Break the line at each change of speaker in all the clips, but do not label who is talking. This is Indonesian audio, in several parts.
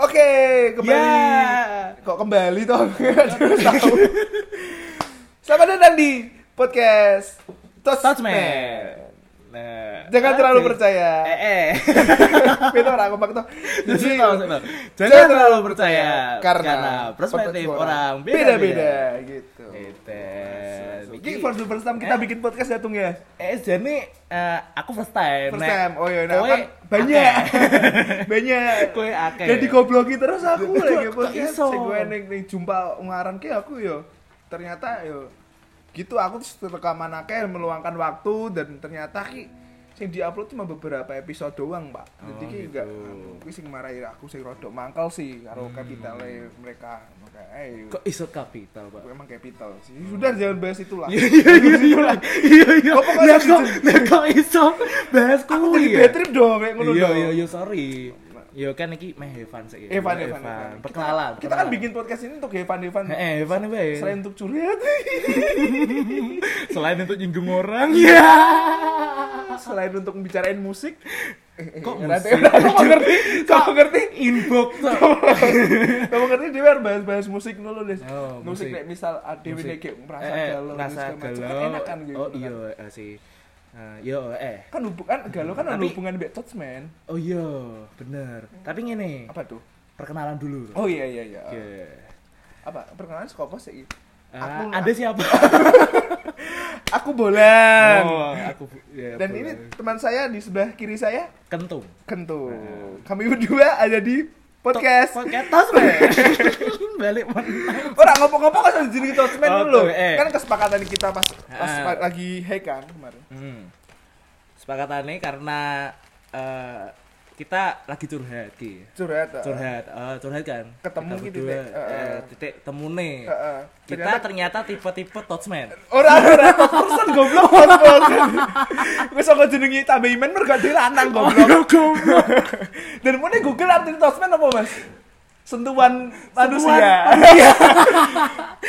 Oke, kembali.
Ya.
Kok kembali toh? Terus tahu. Selamat datang di podcast Tosmed.
Touchman. Nah,
Jangan terlalu percaya.
Eh, eh.
Beda orang kompak toh. Jadi,
Jadi, jangan,
jangan
terlalu percaya
karena,
perspektif
semua
orang
beda-beda
beda-beda.
gitu.
Itu.
Jadi for the first time kita
Eh.
bikin podcast datung ya.
Eh, jadi eh, aku first time.
First
Nek.
time. Oh iya, nah,
Kowe
kan banyak.
akeh.
banyak.
Kowe akeh.
Dan digobloki terus aku lagi
Kok
podcast.
iso?
Sing gue ning ning jumpa ngaran ki aku yo. Ternyata yo gitu aku terus rekaman akeh meluangkan waktu dan ternyata ki sing diupload cuma beberapa episode doang, Pak.
Oh,
Jadi
gitu.
ki enggak aku sing marahi aku sing rodok mangkel sih karo
Hmm.
kapitale mereka. Maka eh
Kok iso kapital, Pak?
aku emang capital sih. Sudah jangan bahas itulah.
Iya iya iya iya. Iya iya.
Kok pokoknya
Lah, kok-
gitu?
lah, kok iso bahas
Aku jadi
kuwi ya?
bad trip dong kayak ngono
Iya
dong.
iya iya sorry. Yo kan iki meh Evan sih.
Evan,
Yo,
Evan, Evan.
Perkenalan.
Kita kan
perkenalan.
bikin podcast ini untuk Evan, Evan.
Eh, Evan wae.
Selain untuk curhat,
Selain untuk nyinggung orang. Iya.
selain untuk membicarain musik. Eh, eh,
Kok
eh,
musik?
Rante, Kamu ngerti? Kamu ngerti?
Inbox. tuh.
Kamu ngerti dia harus bahas-bahas musik dulu deh.
Oh,
musik
musik.
kayak misal Dewi
Musik.
kayak merasa
Eh, eh,
galau,
merasa
segala macam. Kan
galau.
enak kan gitu.
Oh
kan.
iya eh, sih. Eh, Yo eh.
Kan hubungan galau kan ada
Tapi-
hubungan mbek touch man.
Oh iya, bener. Tapi ngene,
Apa tuh?
perkenalan dulu.
Oh iya iya iya.
Oke.
Apa perkenalan sekopo sih?
Eh,
Aku-
Anda siapa?
Aku bolan.
Oh, aku ya,
Dan
boleh.
ini teman saya di sebelah kiri saya
kentung.
Kentu.
Nah.
Kami berdua ada di podcast.
Podcast Tosmen. Balik menang.
Orang ngomong-ngomong kan harus jadi tosmen
Oh,
dulu.
tuh, eh.
Kan kesepakatan kita pas pas
Ah.
pa- lagi hack kan kemarin.
Hmm. Sepakatannya karena eh, kita lagi curhat ki.
Curhat. ah.
Curhat, eh, curhat kan.
Ketemu
kita
ki
berdua,
titik, eh,
eh,
eh.
titik temune.
Heeh.
Kita
Eh, Ternyata-
ternyata tipe-tipe Tosmen.
Orang orang person goblok goblok. Wis aku jenengi tambah iman mergo gak dilanang
Oh, iya,
goblok. Dan mune Google arti tosmen apa, Mas? Sentuhan manusia. Iya.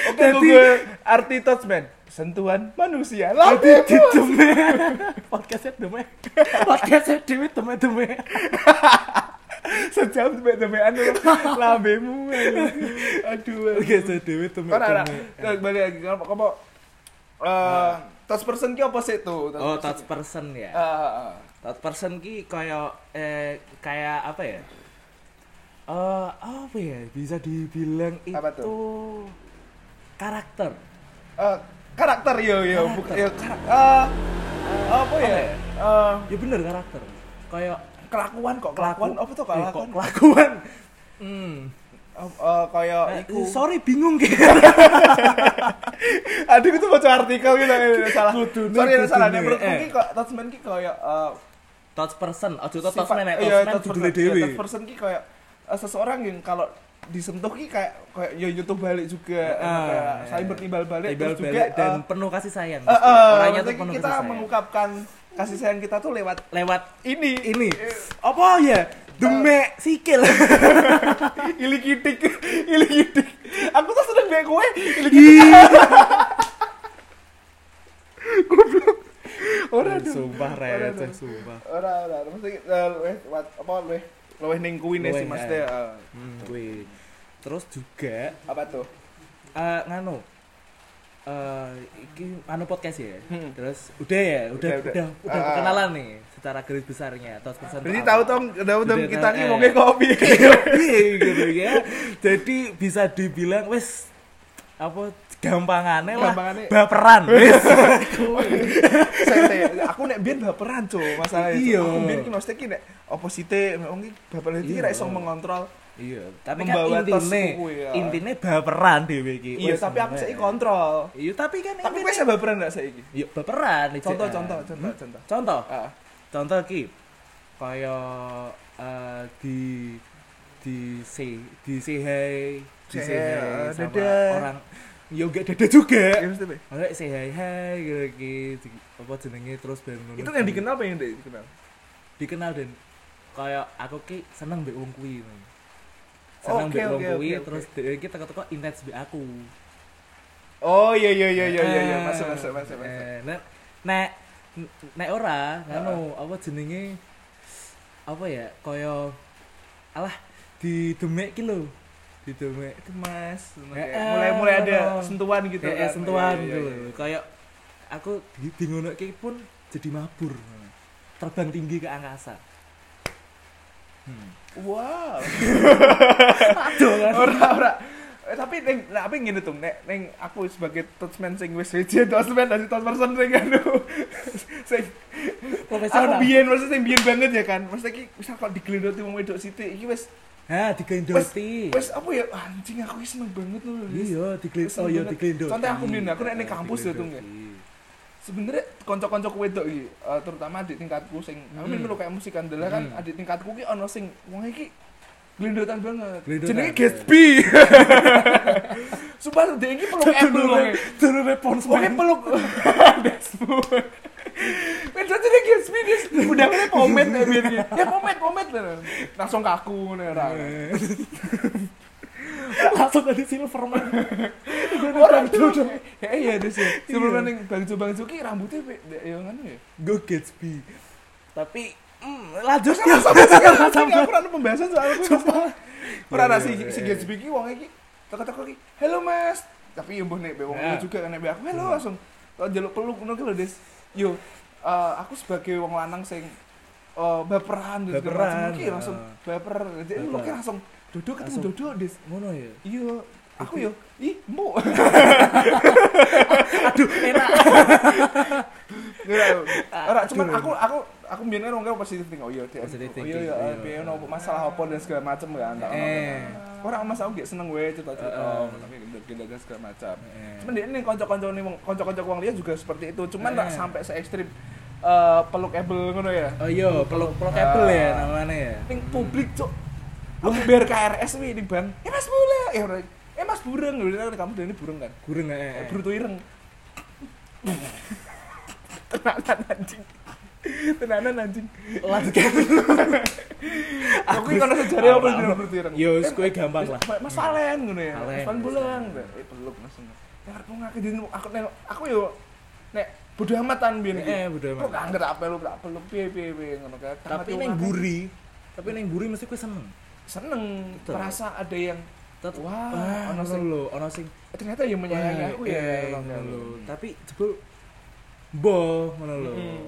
Oke,
Jadi-
Google arti tosmen. Sentuhan manusia. Lebih
Deme. Podcastnya deme. Podcastnya dewe deme-deme.
sejam deme-demean lu. lambemu. aduh. Aduh. aduh.
Podcastnya dewe
Ora ora.
deme-deme.
Terus balik lagi kamu kamu eh touch person ki apa sih tuh? Touch
Ah. Oh,
person.
touch person ya.
Ah, ah, ah.
Third person ki kayak eh kayak apa ya? Eh apa ya? Bisa dibilang
Apa
itu karakter.
Eh, karakter yo yo
Karakter.
bukan yo karak- eh, apa ya?
ya?
Eh,
Ya bener karakter. Kayak
kelakuan kok kelakuan apa tuh
Eh, kok
kelakuan?
kelakuan. Hmm.
Eh, eh, kayak
Eh,
iku.
sorry bingung ki.
Aduh itu baca artikel gitu eh, salah.
Kudune,
Sorry ada salah
kudune,
nih menurutku
eh.
ki kok touchman ki kayak eh,
Third person, ojo to
sifat-
third
iya,
man, third man
touch
judulnya
person.
dewe.
Iya, touch person ki kayak eh, seseorang yang kalau disentuh ki kayak kayak yo YouTube balik juga eh,
Ah,
kayak
iya.
saling bertimbal balik
Tebal
terus juga
balik dan
eh,
penuh kasih sayang.
Eh, eh,
Orangnya
maksudnya
tuh penuh
kita
kasih sayang.
mengungkapkan kasih sayang kita tuh lewat
Lewat
ini
ini. Apa ya? Demek sikil.
ili kitik ili kitik aku tuh seneng deh kue ili
Iya.
ora
Aduh,
tuh
Sumpah,
Ora,
Ren,
ora.
sumpah.
ora ora maksudnya eh, luweh wat apa luweh luweh ning kuine sih
Luweh,
mas
eh.
teh eh.
Hmm, kuwi. Terus juga
apa tuh
eh nganu eh iki anu podcast ya.
Hmm.
Terus udah ya, udah
Udah,
udah
udah.
udah,
Ah.
perkenalan nih secara garis besarnya. Terus persen.
jadi tahu tong tahu tong
Udah,
kita
tahu,
ki
eh.
mau ke kopi
gitu ya. Jadi bisa dibilang wis apa gampangannya lah
Gampangannya.
baperan wis
Saya- saya- aku nek biyen baperan cuk masalahnya Cuk.
Iya.
aku biyen ki maksudnya ki nek opo sithik wong ki baperan iki
Iya.
ra iso mengontrol
iya tapi
Membawa
kan
tas
intine
kuwi, ya.
intine baperan dhewe iki
iya
Wis,
tapi aku saiki
baperan.
kontrol
iya tapi kan
tapi
intine-
kowe saya baperan gak saiki
iya baperan ijek.
contoh contoh contoh contoh
contoh
eh, Ah.
contoh ki kaya eh, di di se di sehai di
Say
sehai
hi,
sama
dadah.
orang ya enggak dadah juga
Ya, maksudnya apa ya?
Maksudnya sehai hai gitu ki di- apa jenenge terus ben ngono
itu
ki.
yang dikenal apa yang nggak dikenal
dikenal dan kaya aku ki seneng mbek wong kuwi
Oke,
seneng mbek wong
Oh, oke,
kuwi
oke, oke.
terus dhewe ki teko-teko intens mbek aku
oh iya iya iya iya iya iya.
Eh,
masuk masuk masuk masuk
eh, Nek nek nek ora ngono apa jenenge apa ya kaya alah di Demek ki lho. Di
Eh,
Demek itu Mas.
Kayak mulai-mulai ada sentuhan gitu kan.
Kayak
Iya,
sentuhan
iya,
gitu.
iya, iya.
Kayak aku di, di ngono ki pun jadi mabur. Terbang tinggi ke angkasa. Hmm.
Wow.
Aduh. kan.
Ora ora. Eh, tapi neng nah, tapi ngene tuh nek neng aku sebagai touchman sing wis wis touchman dari touch person sing anu. sing aku
Profesional.
biyen maksudnya sing biyen banget ya kan. Maksudnya ki misal kalau digelendoti wong wedok sithik iki wis
Ha, digendoti.
wis apa ya Ah, anjing aku wis seneng banget loh. Lis.
Iya, diglendoti.
Seneng
Oh iya,
banget.
diglendoti.
Contoh aku mlin, aku nek ning kampus ya, Tung, ya. Sebenarnya kanca-kanca wedok iki eh, terutama adik tingkatku sing aku
Hmm.
melu kayak musik andalah kan
Hmm.
adik tingkatku ki ono sing wong iki glendotan banget.
Glendotan.
Jenenge Gatsby. Sumpah dia iki peluk Apple wong iki.
Turun respons
Oke peluk Dashboard. Men jadi dia gives me this udah kena pomade ya biar dia. Ya pomade pomade bener. Langsung kaku ya, nih orang.
Langsung tadi Silverman.
Orang tuh. Eh iya terus ya. Sebelum neng bang Cu- Bang Cuki rambutnya be- be- ya kan ya.
Go Gatsby. Tapi
hmm,
mm, lanjut ya
Sama sama. Aku pernah pembahasan soal aku. Pernah
Iya,
ada si
iya,
si
iya.
Gatsby ki wong iki teko-teko ki. Halo Mas. Tapi yang bonek be wong
Ya.
itu juga kan nek be aku halo langsung. Kalau jaluk peluk ngono ki lho Des. Yo eh, aku sebagai wong lanang sing eh, baperan dan segala macam
Baperan,
ki
ya.
langsung baper. Jadi lu
Baper.
ki langsung duduk ketemu
Langsung.
duduk Des.
Ngono ya.
Iya, aku yo ih mu
Aduh, enak.
ora cuman aku aku aku mbiyen kan wong karo positive thinking oh iya dia oh
Positive
iya
thinking,
iya
iya.
biyen opo masalah apa dan segala macem kan tak ono
Eh.
kan. ora mas aku gak seneng we cerita-cerita
Eh.
tapi gendut-gendut dan segala macam
Eh.
cuman dia ini kanca-kanca ini wong- kanca-kanca wong liya juga seperti itu cuman
Eh.
tak sampai se ekstrim eh, peluk able ngono ya
Oh iya, peluk peluk
Ah.
kabel ya namanya ya.
ning publik cuk aku biar KRS wi ning ban eh mas bule eh ora eh mas burung Lho, kan kamu dari ini burung kan
Gureng eh.
Eh, Bruto ireng. Tenanan anjing. Tenanan anjing.
Lanjut kabel.
Aku iki kono sejarah apa
Apa-
di
apa?
Bruto ireng.
Yo, wis kowe
Iya.
gampang lah.
Mas Valen ngono ya.
Valen.
Mas Valen pulang. Eh peluk Mas. Ya arep ngake di aku nek aku yo nek bodo amat tan biyen iki.
Eh, bodo amat.
Kok angger tak peluk tak peluk piye piye piye ngono kae.
Tapi
Tamat
neng
wong akeh.
buri, tapi neng buri mesti kowe seneng.
seneng
Betul.
merasa ada yang
Tet-
Wah,
Wah,
ono
ono
sing-
sing lho, ono sing
eh, ternyata yang menyayangi
Wah,
aku
iya,
ya.
iya,
ngono
ngono
lho.
lho. Tapi jebul boh ngono lho.
Mm-mm.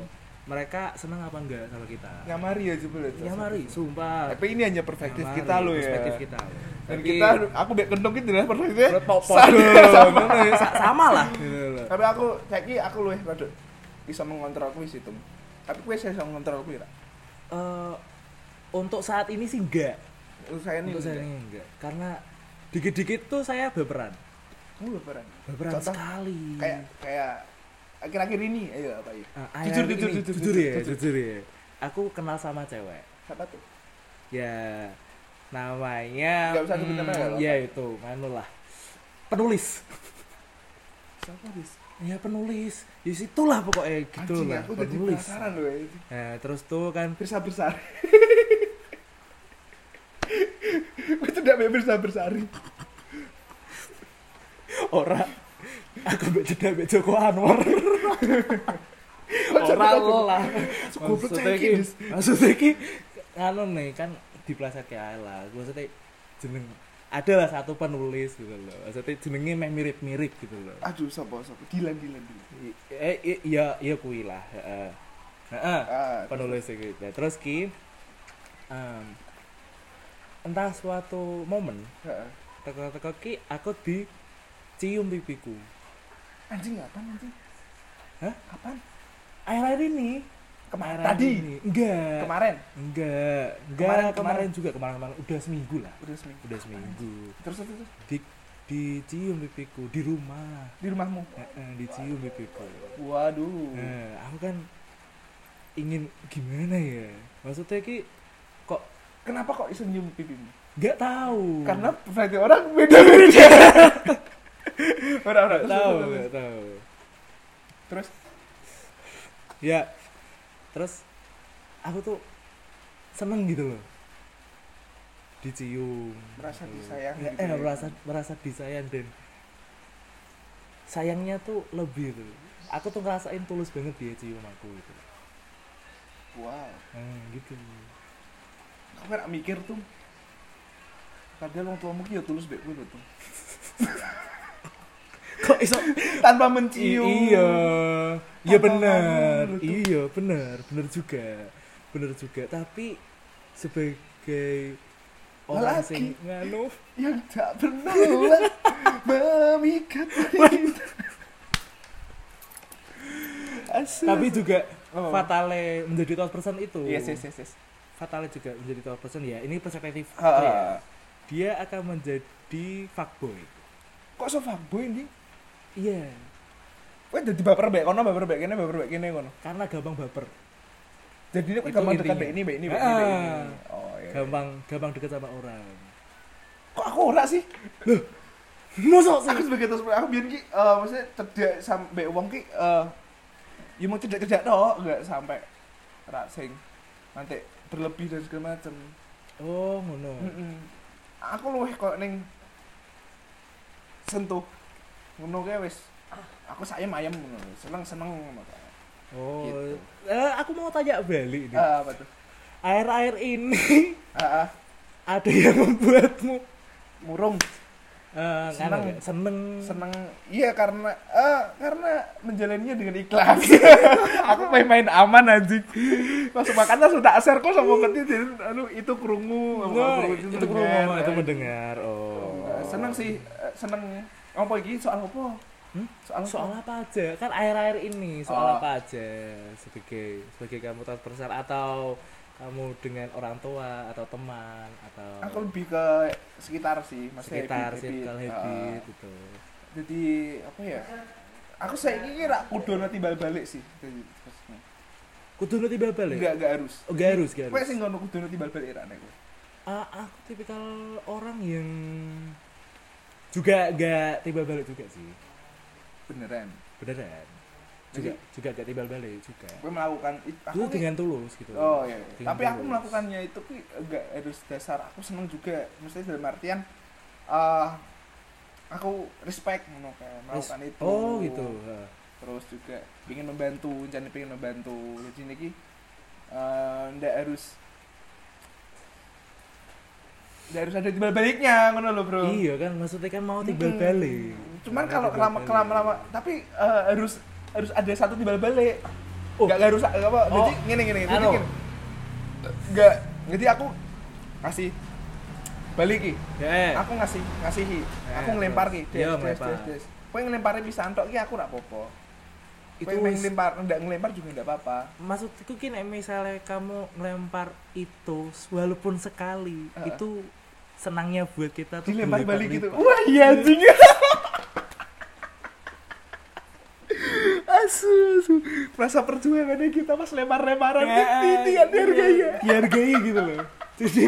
Mereka senang apa enggak sama kita?
Nyamari ya jebul itu.
Nyamari, sumpah.
Tapi ini hanya perspektif
Nyamari,
kita loh ya.
Perspektif kita.
Dan
Tapi-
kita, aku bek kentong gitu lah perspektifnya.
Sama,
Sama- sama.
Sa- sama lah. ya. Gitu loh.
Tapi aku saiki aku luwih rada bisa mengontrol kuwi sih, Tum. Tapi kuwi saya bisa mengontrol kuwi ra.
Eh, untuk saat ini sih enggak.
Saya ini. ya.
Untuk saat ini enggak. Karena dikit-dikit tuh saya baperan.
Mulu barang.
Baperan
Contoh,
sekali.
Kayak kayak akhir-akhir ini ayo apa ya?
Ah,
jujur,
akhir-akhir
jujur,
ini-
jujur,
jujur, ya,
jujur.
jujur ya. Aku kenal sama cewek.
Siapa tuh?
ya namanya
Nggak usah sebut
hmm,
nama ya, nggak
ya itu anu lah penulis
Siapa dis?
ya penulis ya situlah pokoknya gitu
Anjing
lah
aku jadi
penulis
penasaran loh. ya.
nah, terus tuh kan
Birsa Bersari. Kuwi tidak mbek Birsa Bersari.
ora aku mbak jeda mbak Joko Anwar
Kok
ora
cerita aku?
lah
Goblok
maksudnya
cek
ki
iki, Dis.
maksudnya ki anu nih kan dipleset kayak lah maksudnya jeneng adalah satu penulis gitu loh maksudnya jenengnya meh mirip-mirip gitu loh
Aduh, sapa sapa? Dilan dilan dilan.
I- eh i- iya iya kui lah heeh heeh
Ah,
penulis gitu Nah, terus ki em, entah suatu momen
heeh.
teko-teko ki aku dicium pipiku
Anjing kapan anjing?
Hah?
Kapan?
akhir-akhir ini
Kemarin.
akhir-akhir
Tadi?
ini. enggak
Kemarin.
enggak enggak
Kemarin,
kemarin,
kemarin.
juga kemarin kemarin udah seminggu lah
Udah seminggu.
udah seminggu
Terus terus terus.
di dicium pipiku di rumah
di rumahmu.
Heeh, dicium pipiku
Waduh.
Nah, aku kan ingin gimana ya? Maksudnya ki kok
Kenapa kok iso nyium pipimu?
nggak tahu.
Karena berarti orang beda-beda. Ora ora.
nggak
terus,
tahu,
terus,
nggak
terus.
tahu.
Terus
Ya. Terus aku tuh seneng gitu loh. Dicium.
Merasa
gitu.
disayang
Ya,
gitu
eh,
ya.
merasa merasa disayang dan sayangnya tuh lebih tuh. Aku tuh ngerasain tulus banget dia cium aku gitu.
wow.
Nah, gitu.
Kamu gak mikir tuh. Padahal wong tuamu ki ya tulus mbek kowe lho. Tung.
kok iso
Tanpa
I-
mencium.
iya iya
Tanpa
bener
ngomong, betul.
iya bener bener juga bener juga tapi sebagai orang
Lelaki.
sing nganu
Yang tak pernah memikat kita. Asyik.
tapi juga
Oh.
fatale menjadi top person itu
Yes, yes, yes, yes.
fatale juga menjadi top person ya ini perspektif
Ha, ha.
ya. dia akan menjadi fuckboy
Kok so fuckboy ini?
iya
Kowe dadi baper mbek kono, baper mbek kene, baper mbek kene kono.
karena gampang baper
Jadi ini kok
Itu
gampang dekat
intinya.
mbek ini, mbek ini, mbek ini,
Ah.
mbek ini. Oh, iya.
gampang gampang dekat sama orang
Kok aku ora sih?
mosok
aku sebagai terus aku biar ki eh, maksudnya cedak sampai uang ki eh, ya mau cedak cedak toh nggak sampai rasing nanti berlebih dan segala macam
oh ngono
Mm-mm. aku luweh kok neng sentuh ngono kayak wes aku saya ayam ngono seneng seneng ngono
oh
Gitu.
Eh, aku mau tanya balik nih
ah betul
air-air ini
ah ah,
ada yang membuatmu
murung
eh,
Seneng.
nganu nggak? seneng
seneng iya karena eh karena menjalannya dengan ikhlas aku main main aman anjing langsung makan langsung tak share kok sama ngerti jadi aduh itu kerungu apa,
Wah,
kerungu
Nah, itu perlu
mendengar.
ngomong, itu mendengar oh
Eh, seneng sih eh, seneng apa iki soal apa
Hmm?
soal apa?
soal apa aja kan air-air ini soal
Oh.
apa aja sebagai sebagai kamu transversal atau kamu dengan orang tua atau teman atau
aku lebih ke sekitar sih masih
sekitar
habit,
circle
habit.
habit
Eh,
gitu
jadi apa ya aku saya kira kudu nanti balik balik sih jadi terusnya.
kudu nanti babal ya
nggak nggak harus
oh, gak harus gak
Kowe
harus
sih ngono kudu nanti balik balik rane kowe.
Ah, aku tipikal orang yang juga gak tiba balik juga sih
beneran
beneran juga
Jadi-
juga gak timbal balik juga
gue melakukan it- aku
itu
ki-
dengan tulus gitu
oh iya, iya.
Dengan
tapi aku
tulus.
melakukannya itu ki enggak harus dasar aku seneng juga maksudnya dalam artian eh aku respect ngono kan
Terus-
melakukan itu
oh gitu ha.
terus juga ingin membantu jadi pengen membantu jadi ini ki eh, ndak harus ndak harus ada timbal baliknya ngono loh bro
iya kan maksudnya kan mau timbal
Mm-mm.
balik
cuman
Mau
kalau
timbal
lama
balik.
lama lama tapi eh, harus harus ada satu timbal balik
Oh.
nggak nggak harus nggak apa
Oh.
jadi gini gini jadi
Anu.
gini. nggak jadi aku ngasih balik ki
Eh,
aku ngasih ngasih ki
Eh,
aku ngelempar ki
terus.
des
Iya,
des
ngelempar.
des des kau ngelempari pisan tok ki aku nggak popo
itu
itu ngelempar nggak ngelempar juga nggak apa-apa
maksudku kini misalnya kamu ngelempar itu walaupun sekali
Heeh.
itu senangnya buat kita tuh
dilempar balik gitu wah
berlipat-lipat.
iya anjing asu asu merasa perjuangannya kita pas lempar-lemparan
Ya,
ini ini kan dihargai ya
dihargai gitu loh jadi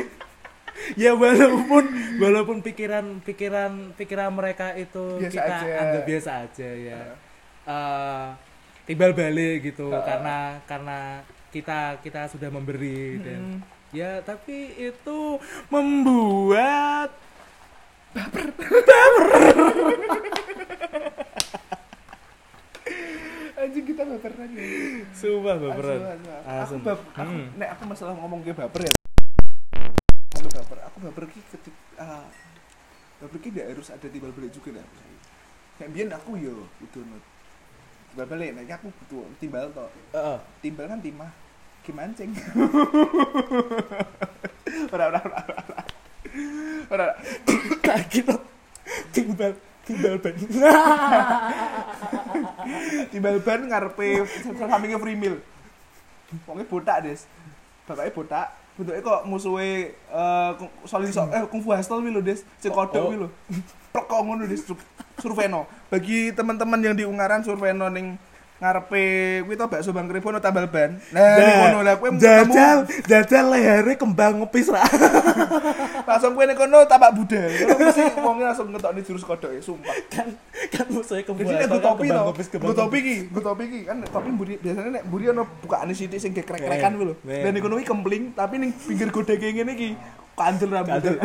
ya walaupun walaupun pikiran pikiran pikiran mereka itu
Biasa
kita
aja.
anggap biasa aja ya
Heeh.
Eh, timbal balik gitu
Heeh.
karena karena kita kita sudah memberi
Mm.
dan ya tapi itu membuat
anjing kita baperan ya
sumpah baperan
Asu, asu, asu. aku
Asem.
bab aku
Hmm.
nek aku masalah ngomong ke baper ya aku baper aku baper ki ketik ah, baper ki ndak harus ada timbal balik juga nek aku saiki. nek biyen aku yo kudu nut timbal balik nek aku butuh timbal tok
Heeh.
timbal kan timah kimancing ora ora ora ora, ora. ora gitu. ora.
Kaget loh. timbal timbal balik
Nah, timbal ban ngarepe sampingnya free meal wonge botak des bapaknya botak bentuknya kok musuhe eh kung- solin sok eh kungfu hustle wi lho des sing kodok
Oh.
wi lho plek kok ngono des Sur- surveno bagi teman-teman yang di Ungaran surveno ning ngarepe kuwi to bakso Bang Kribo no tambal ban nah ning ngono lah kowe
jajal jajal lehernya kembang ngepis ra
langsung kowe ning kono tapak budal Kono mesti wonge langsung ngetokne jurus kodok ya sumpah
kan kan musuhnya kembang
Jadi nek
kan
nggo topi
kembang
to.
ngepis, kembang
Nggo topi ki, nggo topi ki. Kan nek topi mburi biasanya nek mburi ono bukaane sithik sing gekrek-krekan kuwi lho.
Weh.
Dan iku kuwi kempling, tapi ning pinggir godhege ngene iki kandel rambut.
Kandel.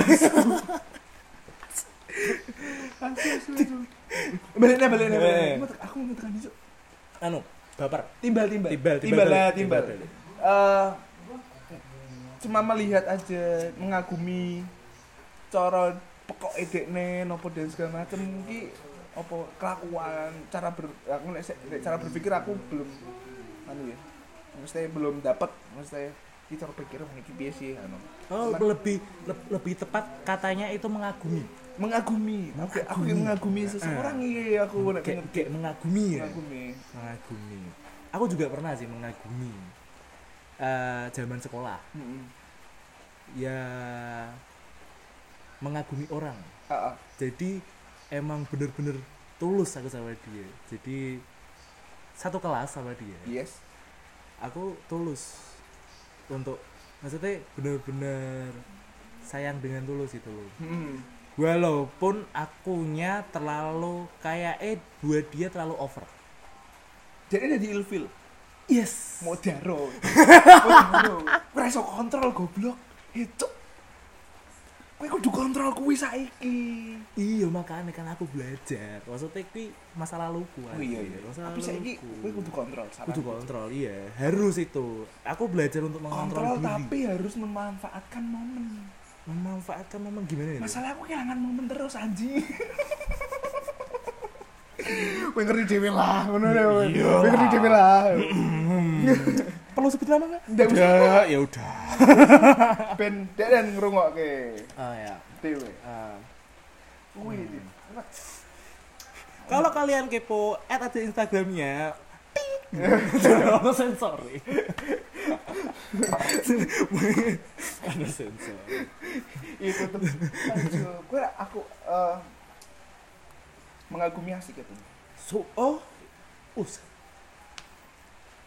Balik nih, balik nih, balik
Weh.
nih. Aku- Aku mau tekan isu.
anu baper
Timbal, timbal.
Timbal, timbal
timbal. lah,
balik,
Timbal,
timbal balik.
Eh, Cuma melihat aja, mengagumi. cara pekok edekne nopo dan segala macem iki apa kelakuan cara ber aku nek se- nek cara berpikir aku belum anu ya mesti belum dapat mesti iki cara pikir wong iki piye sih anu
Oh,
Cuman
lebih le- lebih tepat katanya itu mengagumi.
mengagumi aku aku yang mengagumi seseorang iya aku nek
Kayak
pengen
kayak Oh, mengagumi ya.
mengagumi
Mengagumi. Aku juga pernah sih mengagumi. Eh, zaman sekolah
heeh
ya mengagumi orang.
heeh
Jadi emang bener-bener tulus aku sama dia. Jadi satu kelas sama dia.
yes
aku tulus untuk maksudnya bener-bener sayang dengan tulus itu loh
heeh
walaupun akunya terlalu kayak eh buat dia terlalu over
jadi jadi ilfil
yes
mau daro mau iso kontrol goblok itu kowe kudu kontrol kuwi saiki
iya makanya kan aku belajar maksudnya ini masa laluku
oh iya iya
anjir. masa
tapi saiki
laluku.
kowe kudu kontrol saran
kudu kontrol iya harus itu aku belajar untuk
kontrol
mengontrol diri
tapi harus memanfaatkan momen
memanfaatkan momen gimana ya Dok?
masalah aku kehilangan momen terus anjing kowe ngerti dhewe lah ngono lho kowe ngerti dhewe lah
perlu sebut lama nggak
Nggak usah.
ya udah
ben dan ngrungokke
oh ya
dhewe
Eh,
kuwi
Kalau kalian kepo, add aja Instagramnya. Ada sensor. nih. Ada sensor.
itu tuh Aduh, Iya, gue aku eh, mengagumi asik gitu
So, oh, us.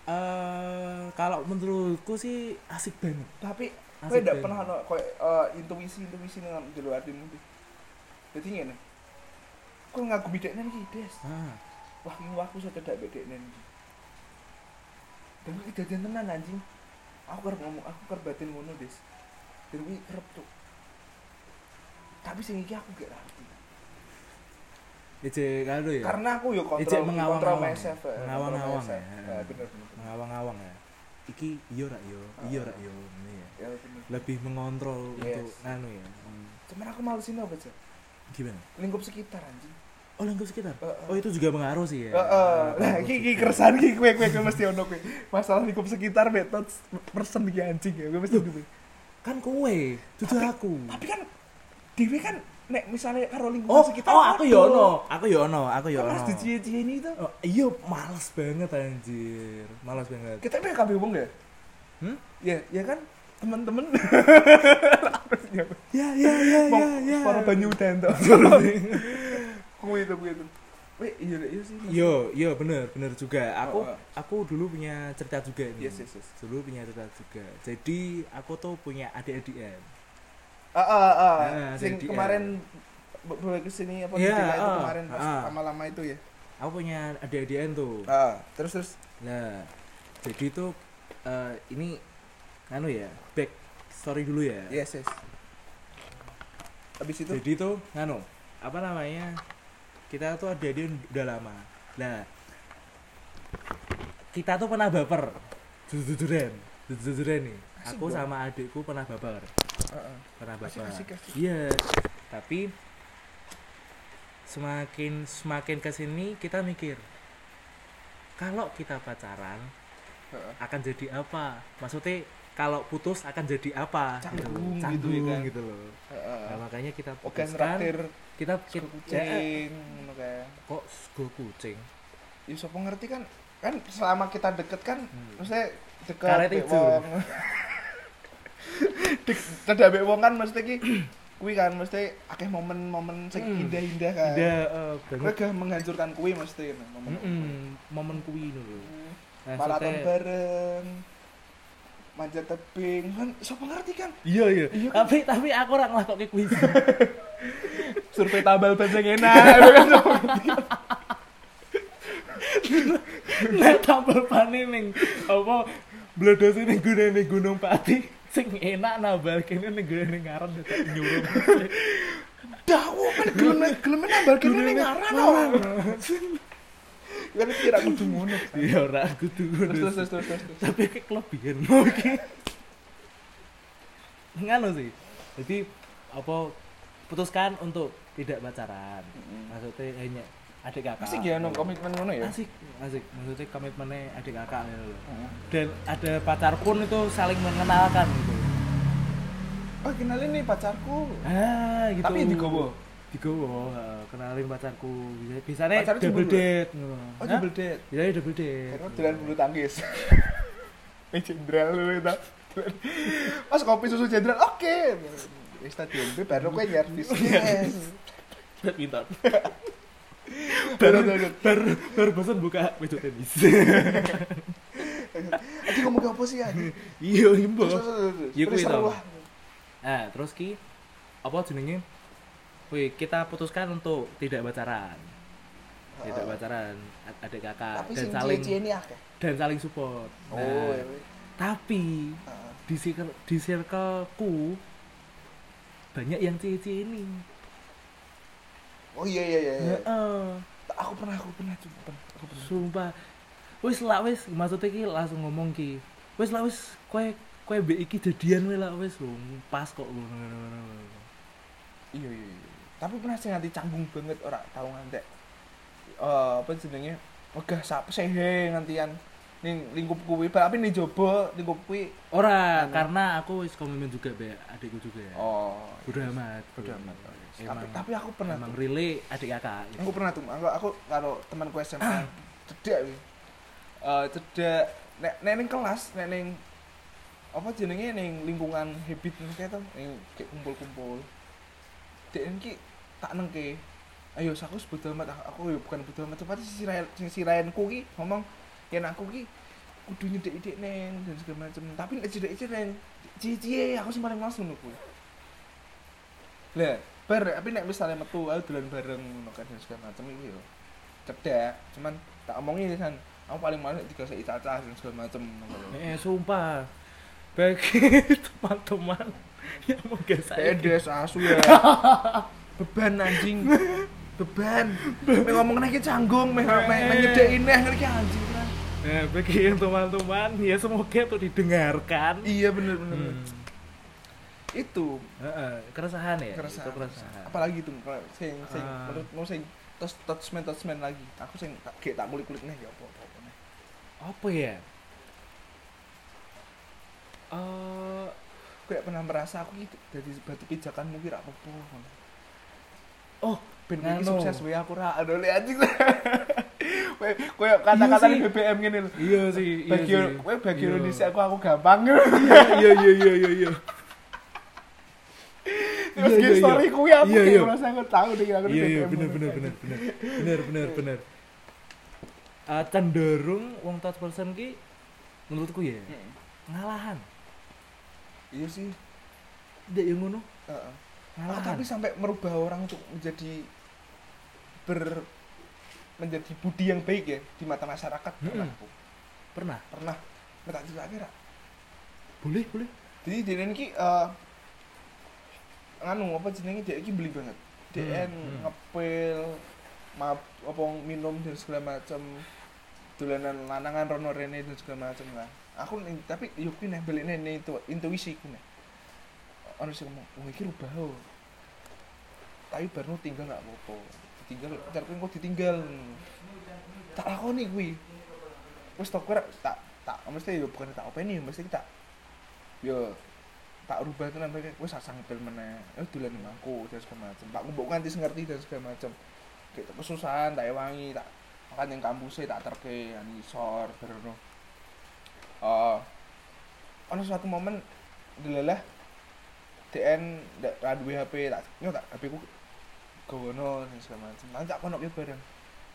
Eh, kalau menurutku sih asik banget.
tapi gue
Asik iya.
tidak
banget.
pernah no, koyo, eh, intuisi intuisi dengan di luar hatimu Bi. jadi gini gue ngagumi dekne nih des
Ah,
wah ini aku sudah tidak bedek nih dan gue kejadian tenan anjing aku kerap ngomong aku kerap batin ngono des dan gue kerap tuh tapi sing iki aku gak ngerti
Ece kaldo ya.
karena aku yo
Ijek
kontrol kontrol
mengawang-awang.
myself eh, kontrol
Mengawang-awang,
myself.
ya.
Eh, bener bener bener.
Ngawang-ngawang ya. Iki iya rak yo, iya rak yo. Ini ya.
ya bener
Lebih mengontrol
Yes.
untuk anu ya. Hmm.
cuman aku malu sini apa sih
Gimana?
lingkup sekitar anjing
Oh lingkup sekitar.
Eh, eh.
Oh itu juga mengaruh sih ya.
Heeh. Nah,
Pengaruh
iki iki
juga.
keresahan iki kowe kowe kowe mesti ono kowe. Masalah lingkup sekitar metode person iki anjing ya, kowe mesti duwe.
kan kowe, dudu aku.
Tapi kan dhewe kan nek misalnya karo lingkup
Oh,
sekitar.
oh aku yo
yono
ono, Ya. aku yo ono, aku yo
Kan
ono.
harus dicie-cieni itu.
Oh, iya males banget anjir. Males banget.
Kita ini kabeh wong ya.
Hmm?
Ya, ya kan teman-teman
Ya ya ya
mau
ya ya.
para banyu dan to. Kowe itu kowe itu. Weh, iya iya sih. Mas.
Yo, yo bener, bener juga. Aku
Oh, oh.
aku dulu punya cerita juga nih.
Yes, yes, yes.
Dulu punya cerita juga. Jadi aku tuh punya adik-adikan.
Ah, ah, ah.
Ah,
Sing
jadi,
kemarin bo- boleh kesini apa
Iya,
yeah, itu
ah,
kemarin pas
ah.
lama-lama itu ya.
Aku punya adik-adikan tuh.
Ah, terus terus.
Nah, jadi tuh eh, ini anu ya, back story dulu ya.
Yes, yes. Habis itu
Jadi tuh nganu, apa namanya? Kita tuh ada dia udah lama. Nah, kita tuh pernah baper. Jujur-jujuran, jujur-jujuran nih.
Asik
Aku
dong.
sama adikku pernah baper,
Heeh.
pernah
Asik,
baper.
asik, asik.
Iya. Tapi semakin semakin kesini kita mikir kalau kita pacaran
Heeh.
akan jadi apa? Maksudnya kalau putus akan jadi apa?
Canggung gitu ya kan.
gitu loh. Nah,
Heeh.
makanya kita
Oke,
putuskan
terakhir
kan kita kita
kucing ngono kae.
eh, kok sego kucing
Ya sapa ngerti kan kan selama kita deket kan
Hmm.
maksudnya deket
Karet
mbek
ijo.
wong. Dek dadak mbek wong kan mesti ki kuwi kan mesti akeh momen-momen sing
Hmm.
indah-indah kan.
ada
Kowe
eh, banget
gak menghancurkan kuwi mesti momen.
Mm-mm, momen kuwi dulu Nah,
Maraton
maksudnya-
bareng. Manjat tebing kan sapa ngerti kan
iya iya
Iya kan?
tapi tapi aku ora ngelakoke kuwi
survei tabel ban yang enak itu kan sapa ngerti.
nek tambal pane ning apa bledos ning gunane Gunung Pati sing enak nambal kene ning gunane ngaran tetep nyuruh
Dah, aku kan gelemen gelemen nambal kene ning ngaran orang. Kan kira aku tuh ngono.
iya ora kudu
Terus terus
ngono
terus terus. terus.
tapi kayak kelebihan oke ngano sih jadi apa putuskan untuk tidak pacaran maksudnya hanya adik kakak
Pasti gimana komitmen ngono ya?
asik asik maksudnya komitmennya adik kakak gitu loh. dan ada pacar pun itu saling mengenalkan gitu
Oh, kenalin nih pacarku.
ah gitu
Tapi digowo.
digowo heeh. kenalin pacarku Bisa- biasanya
Pacarnya
double
cemburu?
date gitu.
Oh, double date.
biasanya iya, double date
Karena jalan bulu tangkis. Eh, jenderal lu itu. Pas kopi susu jenderal, oke. Di Stadion B baru gue nyervis. Yes.
badminton
Baru baru.
baru baru bosan buka meja tenis
Aku ngomong apa sih ya?
iya imbo
Terus terus, terus.
Ya,
Terus
kuwi
seru
tau.
lah.
Nah, terus ki apa jenenge? Wih, kita putuskan untuk tidak pacaran. Tidak
Heeh.
pacaran ad- adik
Eh, Ah.
kakak
Tapi
dan
sing
saling
cie-cie ini akeh.
dan saling support.
Oh,
Nah,
ya, weh.
tapi
Heeh.
di circle di circleku banyak yang cici ini. Nah,
Oh iya iya iya. iya.
Heeh.
Aku pernah aku pernah aku pernah. Aku pernah.
eh, Sumpah. Wis lah wis maksudnya ki langsung ngomong ki. Wis lah wis kowe kowe mbek iki jadian wis lah wis wong pas kok ngono-ngono.
Iya iya iya. Tapi pernah sih nganti canggung banget ora tau ngantek. Eh apa jenenge? Megah sap sehe ngantian ning lingkup kuwi, tapi ning jaba lingkup kuwi.
Ora,
Anu.
karena aku wis komitmen juga be adikku juga.
Oh,
Bodo amat.
Bodo amat, oh, yes.
Ya. Emang,
Tapi- tapi aku pernah
Emang
tuh. Oh,
relay adik kakak. gitu.
aku pernah tuh. Aku aku karo temanku SMA cedak wih. Eh cedak nek nek ning kelas, nek ning apa jenenge ning lingkungan habit ngono kae to, ning kayak kumpul-kumpul. Dek iki tak nengke. Ayo aku sebut amat aku- aku ya bukan sebut amat tapi si Ryan si, si Ryanku ki ngomong yen aku ki kudu nyedek idik neng dan segala macam tapi nek cedek idik neng cie aku sih paling males ngono kuwi lah bar tapi nek misalnya metu aku dolan bareng ngono kan dan segala macam itu yo cedak cuman tak omongin kan aku paling males tiga sik cacah dan segala macam
Eh, sumpah. Bagi teman-teman yang mau gak saya
Tedes asu ya beban anjing beban me ngomong nek canggung me me nyedeki neh ngene iki anjing kan
Nah, bagi yang teman-teman ya semoga itu didengarkan.
iya bener bener
Hmm.
itu
Heeh, keresahan ya.
keresahan.
Itu keresahan.
apalagi tuh kalau sing sing
Ah.
menurutmu sing tos touchman touchman lagi aku sing tak kayak tak kulik kulik nih ya apa apa apa neh.
Apa ya? Eh,
kayak pernah merasa aku gitu dari batu pijakan mungkin apa apa
oh,
ben kowe iki
Ngano.
sukses wae aku ra aduh le anjing Kowe- koyo kata-kata
Iya sih.
BBM ngene lho
iya sih, iya
bagi
sih.
kowe bagi
Iya.
Indonesia aku aku gampang
Iya, iya, iya, iya, iya.
terus
Iya,
game
iya,
story
iya.
kuwi aku
Iya,
kayak
iya.
merasa aku tahu deh aku di
iya iya
BBM
bener
ngono.
bener bener bener bener bener bener Eh, cenderung wong touch person ki menurutku ya
Heeh.
ngalahan
Hmm. iya sih
tidak yang ngono
heeh Ah,
ngalahan
tapi sampai merubah orang untuk menjadi ber menjadi budi yang baik ya di mata masyarakat pernah
Mm-mm.
aku.
pernah
pernah minta cerita kira
boleh boleh
jadi dia ini eh nganu apa jenenge dia ini beli banget dia
Hmm, hmm.
ngepil mab apa minum dan segala macam dolanan lanangan rono rene dan segala macam lah aku ning- tapi yuk nih beli nih itu intuisi ku nih orang sih ngomong wah ini rubah oh." tapi baru tinggal nggak apa-apa ditinggal cari kok ditinggal tak lakoni kuwi wis tak kira tak tak mesti yo bukan tak openi mesti tak yo tak rubah tenan mereka wis asang ngepel meneh eh dolan sama aku dan segala macam tak mbok nganti sing ngerti dan segala macam kayak tak kesusahan tak ewangi tak makan yang kampusnya tak terke anu, yang ngisor berono eh ono suatu momen delalah DN ndak raduwe HP tak yo tak HP ku gono dan segala macam nanti tak kono ki bareng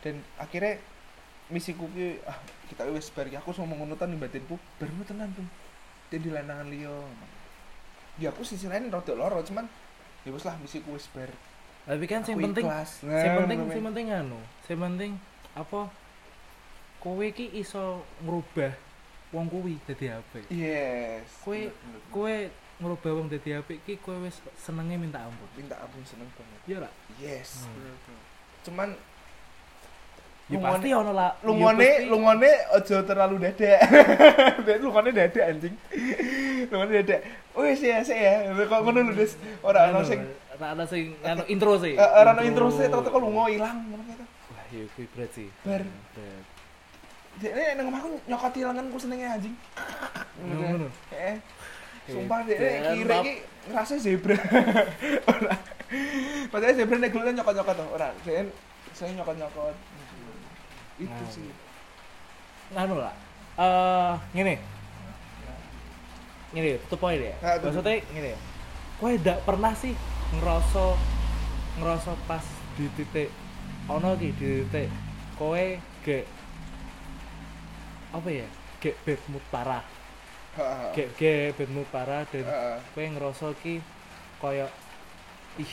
dan akhirnya misiku ki ah kita wis bar ki. aku sama ngunutan di batinku baru tenan tuh dia di lanangan liyo ya aku sisi lain rodok loro cuman ya wis lah misiku wis bar
tapi kan yang
Aku
penting
ikhlas.
yang
Nah,
penting
ngono,
yang
men.
penting anu yang penting apa kowe ki iso ngerubah wong kuwi dadi apik
yes
Kowe-
Bener, bener, bener.
kowe ngerubah wong dadi apik ki kowe wis senenge minta ampun
minta ampun seneng banget
iya lah
yes
Hmm.
bener, bener. cuman
ya
Lungone-
pasti ono lah ya
lungone
pasti-
lungone ojo terlalu dadek Dek, lungone dadek anjing lungone dadek wis ya sik ya kok ngono lho Des ora ono sing
Anu, ada sing nganu intro sih.
Eh, eh, Rano intro sih ternyata kalau mau hilang ngono gitu.
Wah, ya kuwi berat sih.
Ber.
Berat.
Dia nang omahku nyokot hilangan ku senenge anjing. Eh,
Ngono.
Heeh. Sumpah deh,
Hebat.
kira ki ngerasa zebra. Ora. Padahal zebra nek gelutnya nyokot-nyokot tuh. Ora, dia saya nyokot-nyokot. Itu
Nah.
sih.
Nganu lah. Eh, ngene. Ngene, to poin ya.
Ah, to
Maksudnya ngene. Kowe ndak pernah sih ngerasa ngerasa pas di titik ono ki di titik kowe gek apa ya? Gek bedmu parah.
Heeh.
Gek gek bedmu parah dan
Heeh.
kowe ngerasa ki koyo ih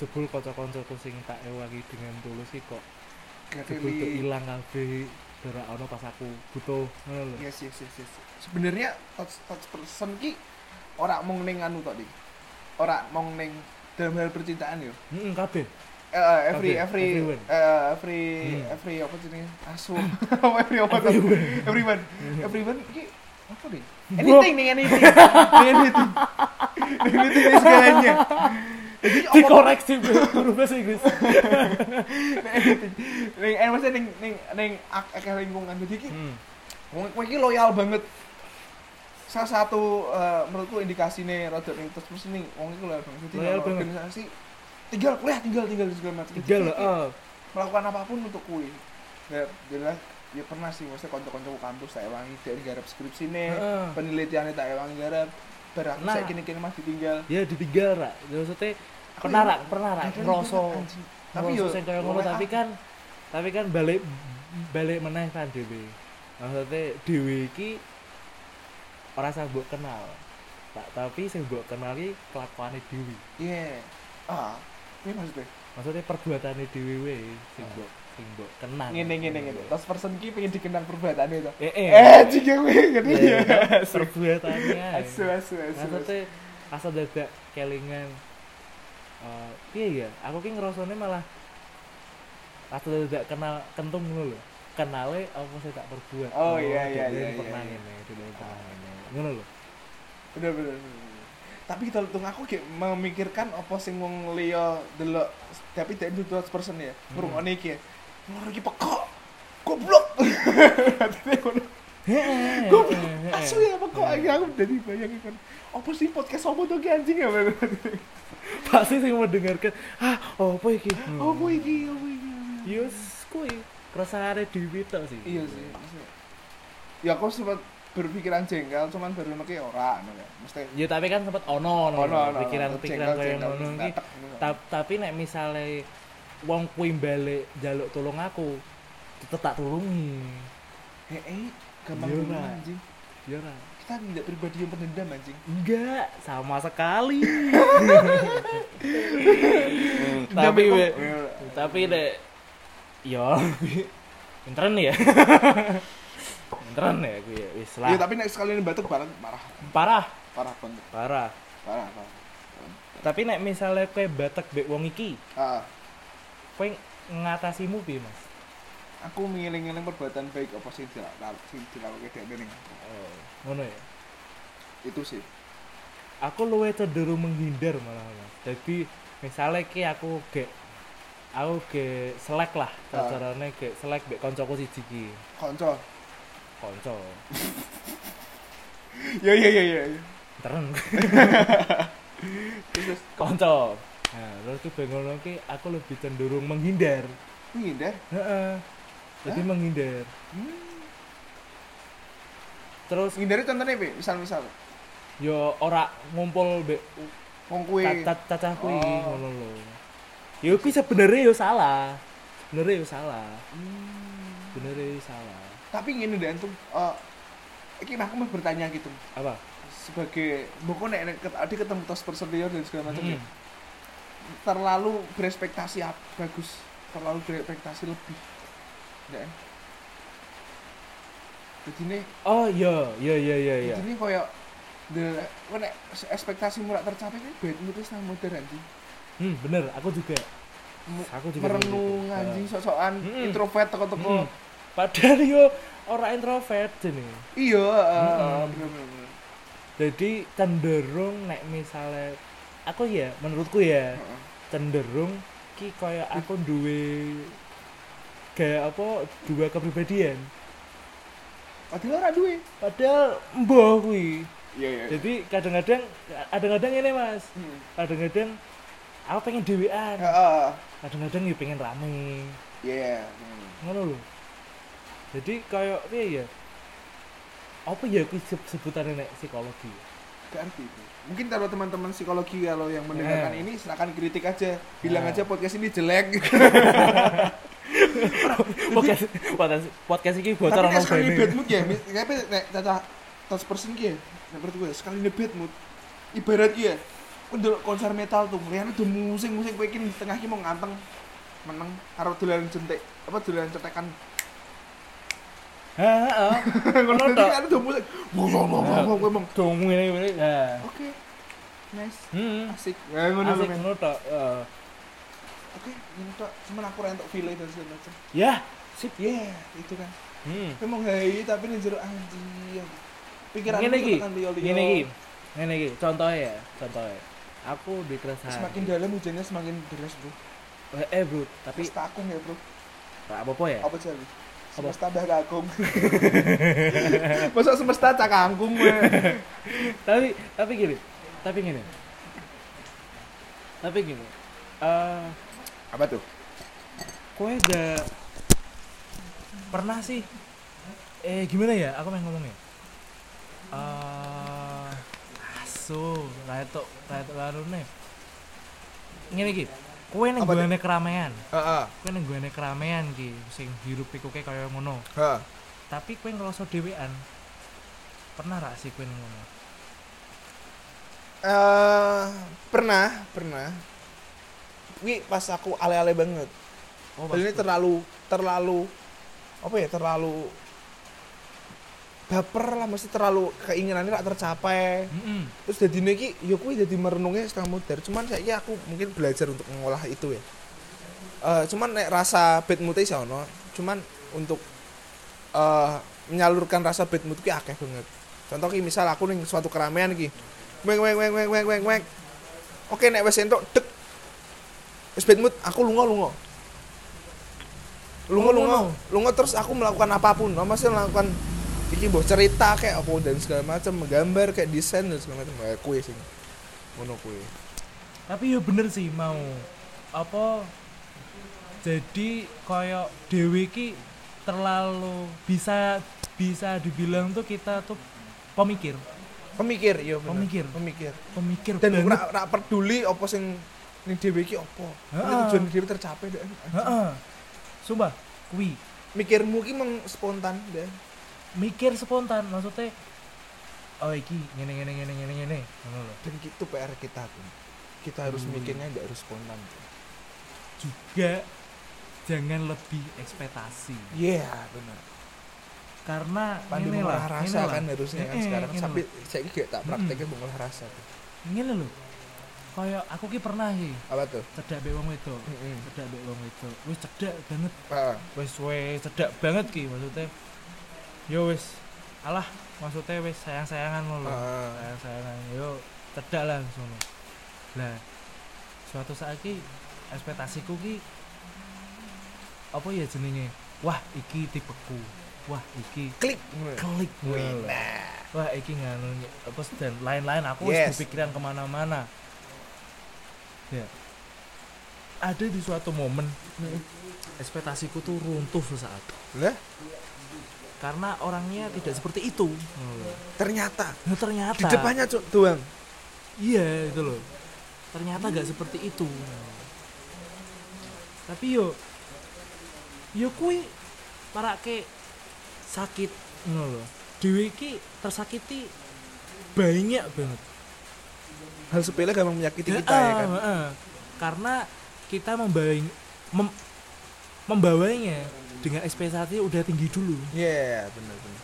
jebul kanca-kancaku sing tak ewangi dengan tulus iki kok jebul tuh
Gak
ilang kabeh ora ono pas aku butuh ngono lho.
Yes, yes, yes, yes. Sebenarnya touch touch person ki ora mung ning anu tok dik. Ora mung ning dalam hal percintaan yo.
Heeh kabeh.
Eh, every
Oke,
every
everyone.
eh, every
Hmm.
every apa sih asu apa every apa tuh?
Everyone.
everyone everyone ki apa nih anything nih anything anything anything is segalanya jadi apa
Dikoreksi guru bahasa Inggris.
anything ning eh, maksudnya ning ning ning ak- akeh lingkungan jadi ki
Hmm.
wong kowe iki loyal banget salah satu eh, menurutku indikasine rada ning terus terus ning wong iki loyal banget jadi
Loyal
kalau
banget.
organisasi tinggal kuliah tinggal tinggal ah. segala macam Jadi
Tiga lho.
ki- melakukan apapun untuk kui ya jelas ya pernah sih maksudnya konco-konco kampus tak ewangi dari garap skripsi nih
Heeh.
penelitiannya tak ewangi garap barang
Nah.
saya kini-kini masih tinggal
Ya ditinggal ra. Maksudnya
Aku
pernah
ingat-
ra, pernah ra
Aduh,
Nah, ngerasa
anjing.
tapi yo ah. sing kaya ngono
lumayan.
tapi kan tapi kan balik balik meneh kan dhewe. Maksudnya dhewe iki ora sah mbok kenal. Tak tapi sing mbok kenal iki kelakuane dhewe.
iya ah ini maksudnya
Maksudnya perbuatane dhewe wae sing mbok sing mbok kenal.
ngene ngene
iya.
ngene terus person ki pengen dikenang perbuatannya itu
Eh eh.
eh jika gue gede ya
Ya, Perbuatane. ae.
asu asu asu asu.
Nah, maksudnya asal dadak kelingan eh iya ya aku ki ngerasane malah asal dadak kenal kentung ngono lho kenale apa sih tak perbuat
Oh, iya, iya,
dulu
iya,
pernah
iya,
ngene dulu pernah ngene ngono lho
bener bener bener. tapi kita hitung aku kayak memikirkan apa sing wong liya delok tapi dari itu tuh person ya
Hmm.
ngrungokne iki ya ngelor iki pekok goblok Hatinya ngono. goblok asu ya pekok Akhirnya aku jadi bayangin kan apa sih podcast apa tuh ki anjing ya bener
Mm. pasti sing mendengarkan ah opo iki
Hmm. apa iki apa iki
yus kuwi keresahane dhewe tok sih
iya sih maksudnya. ya aku sempat berpikiran jengkel cuman baru nek ora ngono ya mesti
ya tapi kan sempat ono
Oh, no, no, no. Jengkel,
pikiran-pikiran kaya
jengkel,
ngono iki
datek, ngono.
Ta- tapi nek misale wong kuwi balik jaluk tolong aku tetep tak tulungi
Eh, eh, gampang
Iya,
dulu
Ra.
anjing
ya ora
kita tidak pribadi yang pendendam anjing
Mm, enggak sama sekali tapi
Tapi
we- tapi nek yo intern ya intern ya gue ya wis lah
Iya tapi next kali ini batuk parah parah
parah
parah banget
parah
parah parah.
tapi nek misalnya kowe batek mbek wong iki
Ah,
kowe ngatasimu piye Mas
aku mengiling-iling perbuatan baik apa sih Nah, dilakukan sih dilakukan dia ini
oh ngono ya
itu sih.
aku luwe cenderung menghindar malah Mas. jadi misalnya ki aku ge aku ge selek lah
Ah.
carane ge selek mbek koncoku siji ki
Konco.
konco
Ya ya ya ya. ya.
teren
Terus terus
konco nah terus tuh bengono ki aku lebih cenderung menghindar
ngindar.
Heeh. jadi menghindar
Hmm.
terus
Ngindari contohnya apa? Misal-misal.
yo ora ngumpul mbek
Wong kue.
cacat cacah kuwi
Oh.
ngono lho yo kuwi sebenarnya yo salah sebenarnya yo salah
Hmm.
sebenarnya yo salah
Tapi ngene deh antum. Eh, iki aku mau bertanya gitu.
apa
Sebagai bukan nek nek ket- adik ketemu tos person dia dan segala macam ya.
Hmm.
Terlalu berespektasi ap- bagus. Terlalu berespektasi lebih. Ya. Jadi ini
Oh iya, iya iya iya iya.
Jadi koyo the kok nek ekspektasi murah tercapai kan bad mood wis nang modern anjing.
Hmm, bener, aku juga.
Mu-
Aku juga
Merenung
begitu.
anjing sok-sokan
Mm-mm.
introvert teko-teko.
Hmm. Padahal yo ora introvert jenenge.
Iya, heeh,
Mm-mm.
bener-bener.
Jadi cenderung nek misalnya aku ya menurutku ya
Heeh.
cenderung ki kaya aku duwe gaya apa dua kepribadian
Padahal ora duwe.
padahal mbah kuwi
Iya iya.
jadi kadang-kadang kadang-kadang ini mas kadang-kadang aku pengen dewean
Heeh.
kadang-kadang ya pengen rame
Iya.
ngono lho jadi kayak piye ya apa ya aku sebutan nek psikologi
Ganti. Mungkin kalau teman-teman psikologi kalau yang mendengarkan
Eh.
ini silakan kritik aja. Bilang
Eh.
aja podcast ini jelek.
podcast podcast podcast ini bocor
Tapi nek
orang
sekali
bane.
debat mood ya, mis- tapi nek cacah tas person ki ya, nek menurut gue sekali debat mood. Ibarat ki ya, untuk konser metal tuh, ngeliatnya udah musik-musik gue di tengah ki mau nganteng meneng karo dolanan jentik apa dolanan cetekan
Ha, ha, ha.
ngono
Ngono
iki
tok.
kan udah musik wow wow wow wow, wow gue emang
dong ngene ngene ha
oke nice
hmm
asik ya ngono lho
asik
men
ngono tok eh.
oke ini tok cuman aku rentok file dan segala macam
ya sip
yeah itu kan
hmm
gue mau hai tapi ini jeruk anjing pikiran
ngene iki ngene iki
ini
ngene iki contohe ya contohe aku di keresahan
semakin dalam hujannya semakin deras bro
eh bro tapi
Semesta akung ya bro
gak apa-apa ya
Apa sih? Semesta dah kagum Masa semesta cak kangkung gue
tapi tapi gini tapi gini tapi gini eh
Apa tuh?
kue gak pernah sih eh gimana ya aku pengen ngomongnya eh asu retok retok baru nih ngene iki kue neng
Apa
gue keramaian
Heeh.
kue neng gue keramaian ki sing hirup pikuke kaya ngono
Heeh.
tapi kue ngerasa dewean pernah gak sih kue ngono
Eh, pernah, pernah. Wi pas aku ale-ale banget.
oh
Dan ini
pasti.
terlalu terlalu apa ya? Terlalu baper lah mesti terlalu keinginannya tak tercapai
Mm-mm.
terus jadi ini ya aku jadi merenungnya setengah modern cuman saya aku mungkin belajar untuk mengolah itu ya Eh, cuman nek rasa bad mood iso ono cuman untuk eh, menyalurkan rasa bad mood ki akeh banget contoh ki misal aku ning suatu keramaian ki weng weng weng weng weng weng weng oke nek wes entok dek wes bad mood aku lunga lunga lunga
Oh,
lunga
ngono.
lunga terus aku melakukan apapun apa sih melakukan iki mbok cerita kayak apa dan segala macam menggambar kayak desain dan segala macam kayak kue sing ngono kue
tapi ya bener sih mau apa jadi koyok dewi ki terlalu bisa bisa dibilang tuh kita tuh pemikir
pemikir iya bener.
Pemikir.
pemikir
pemikir
dan
banget.
ora ora peduli apa sing ini dhewe iki apa ini
Heeh.
tujuan dhewe tercapai deh
Heeh. sumpah kui
mikirmu ki mung spontan deh
mikir spontan maksudnya oh iki ngene ngene ngene ngene ngene ngono lho.
dan itu PR kita pun kita harus mikirnya nggak harus spontan
juga jangan lebih ekspektasi
iya bener
karena
pandu
ngene
mengolah
lah,
rasa
ngene lah.
kan harusnya kan
Eh, eh,
sekarang
ngene
sampai
lho.
saya gak tak prakteknya mengolah rasa
ngene lho koyok aku ki pernah ki
apa tuh
cedak mbek wong wedok
Mm-mm.
cedak mbek wong wedok wis cedak banget
Heeh.
wis wis cedak banget ki maksudnya yo wis alah maksudnya wis sayang-sayangan mulu
Heeh.
sayang-sayangan yo cedak lah ngono lah suatu saat ki ekspektasiku ki apa ya jenenge wah iki tipeku wah iki
klik Ngono ya.
klik
Wih,
ngono lho.
nah.
wah iki nganu apa dan lain-lain aku wis
Yes.
kepikiran kemana-mana ya ada di suatu momen
Hmm.
ekspektasiku tuh runtuh sesaat
lah
karena orangnya tidak seperti itu
ternyata
nah, ternyata
Oh. di depannya cuk doang
iya itu loh ternyata
Hmm.
nggak seperti itu tapi yo yo kui parake sakit ngono lho dewe ki tersakiti banyak banget
hal sepele gampang menyakiti kita ya kan
Heeh, heeh. karena kita membayang mem- membawanya dengan ekspektasi udah tinggi dulu
iya bener bener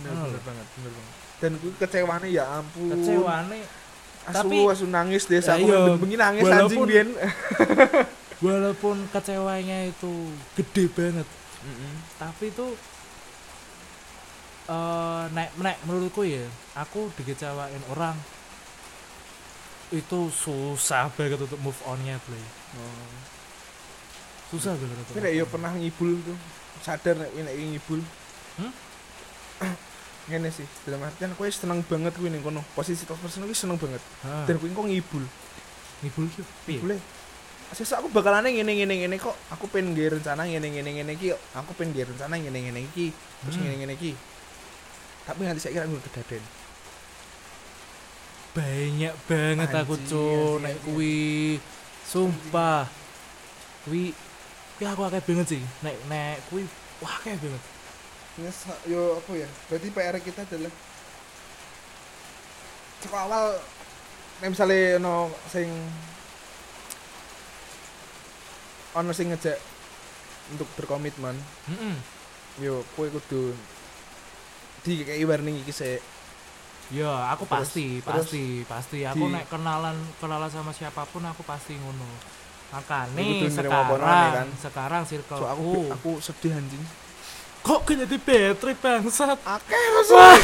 bener
Hmm.
bener banget bener banget dan gue kecewanya ya ampun
kecewane
asu
Tapi-
asu nangis deh aku
Ayo,
ben- bengi nangis anjing Eh.
walaupun-
bien
walaupun kecewanya itu gede banget tapi itu eh nek nek menurutku ya aku dikecewain orang itu susah banget untuk move onnya play susah banget untuk
Oh, Tapi nek yo pernah ngibul tuh. Sadar nek nek ngibul.
Hmm?
Ngene sih, dalam artian kowe seneng banget kuwi ning kono. Posisi top person kuwi seneng banget.
Ah, Iya.
Dan Iya. kuwi kok ngibul.
ngibul ki piye?
Boleh. Sesuk aku bakalane ngene ngene ngene kok. Aku pengen nggawe rencana ngene ngene ngene iki. kok. Aku pengen nggawe rencana ngene ngene iki. Terus
Hmm.
ngene ngene iki. Tapi nanti saya kira gue kedaden.
banyak banget aku
Anjing,
cuy
anjing,
nek
anjing.
kuwi sumpah kuwi kuwi aku akeh banget sih nek nek kuwi wah akeh banget
Yes, yo apa ya? Berarti PR kita adalah Cek awal nek misale ono sing ono sing ngejak untuk berkomitmen,
Heeh.
yo kowe kudu dikei warning iki sik.
ya aku
Terus-
pasti
terus
pasti pasti aku
di-
nek kenalan kenalan sama siapapun aku pasti ngono
Itu
makane
tuh nerima
sekarang
omongan, ya kan?
sekarang circle
So aku
aku
aku sedih anjing.
kok kok jadi battery bangsat
Akeh masalah.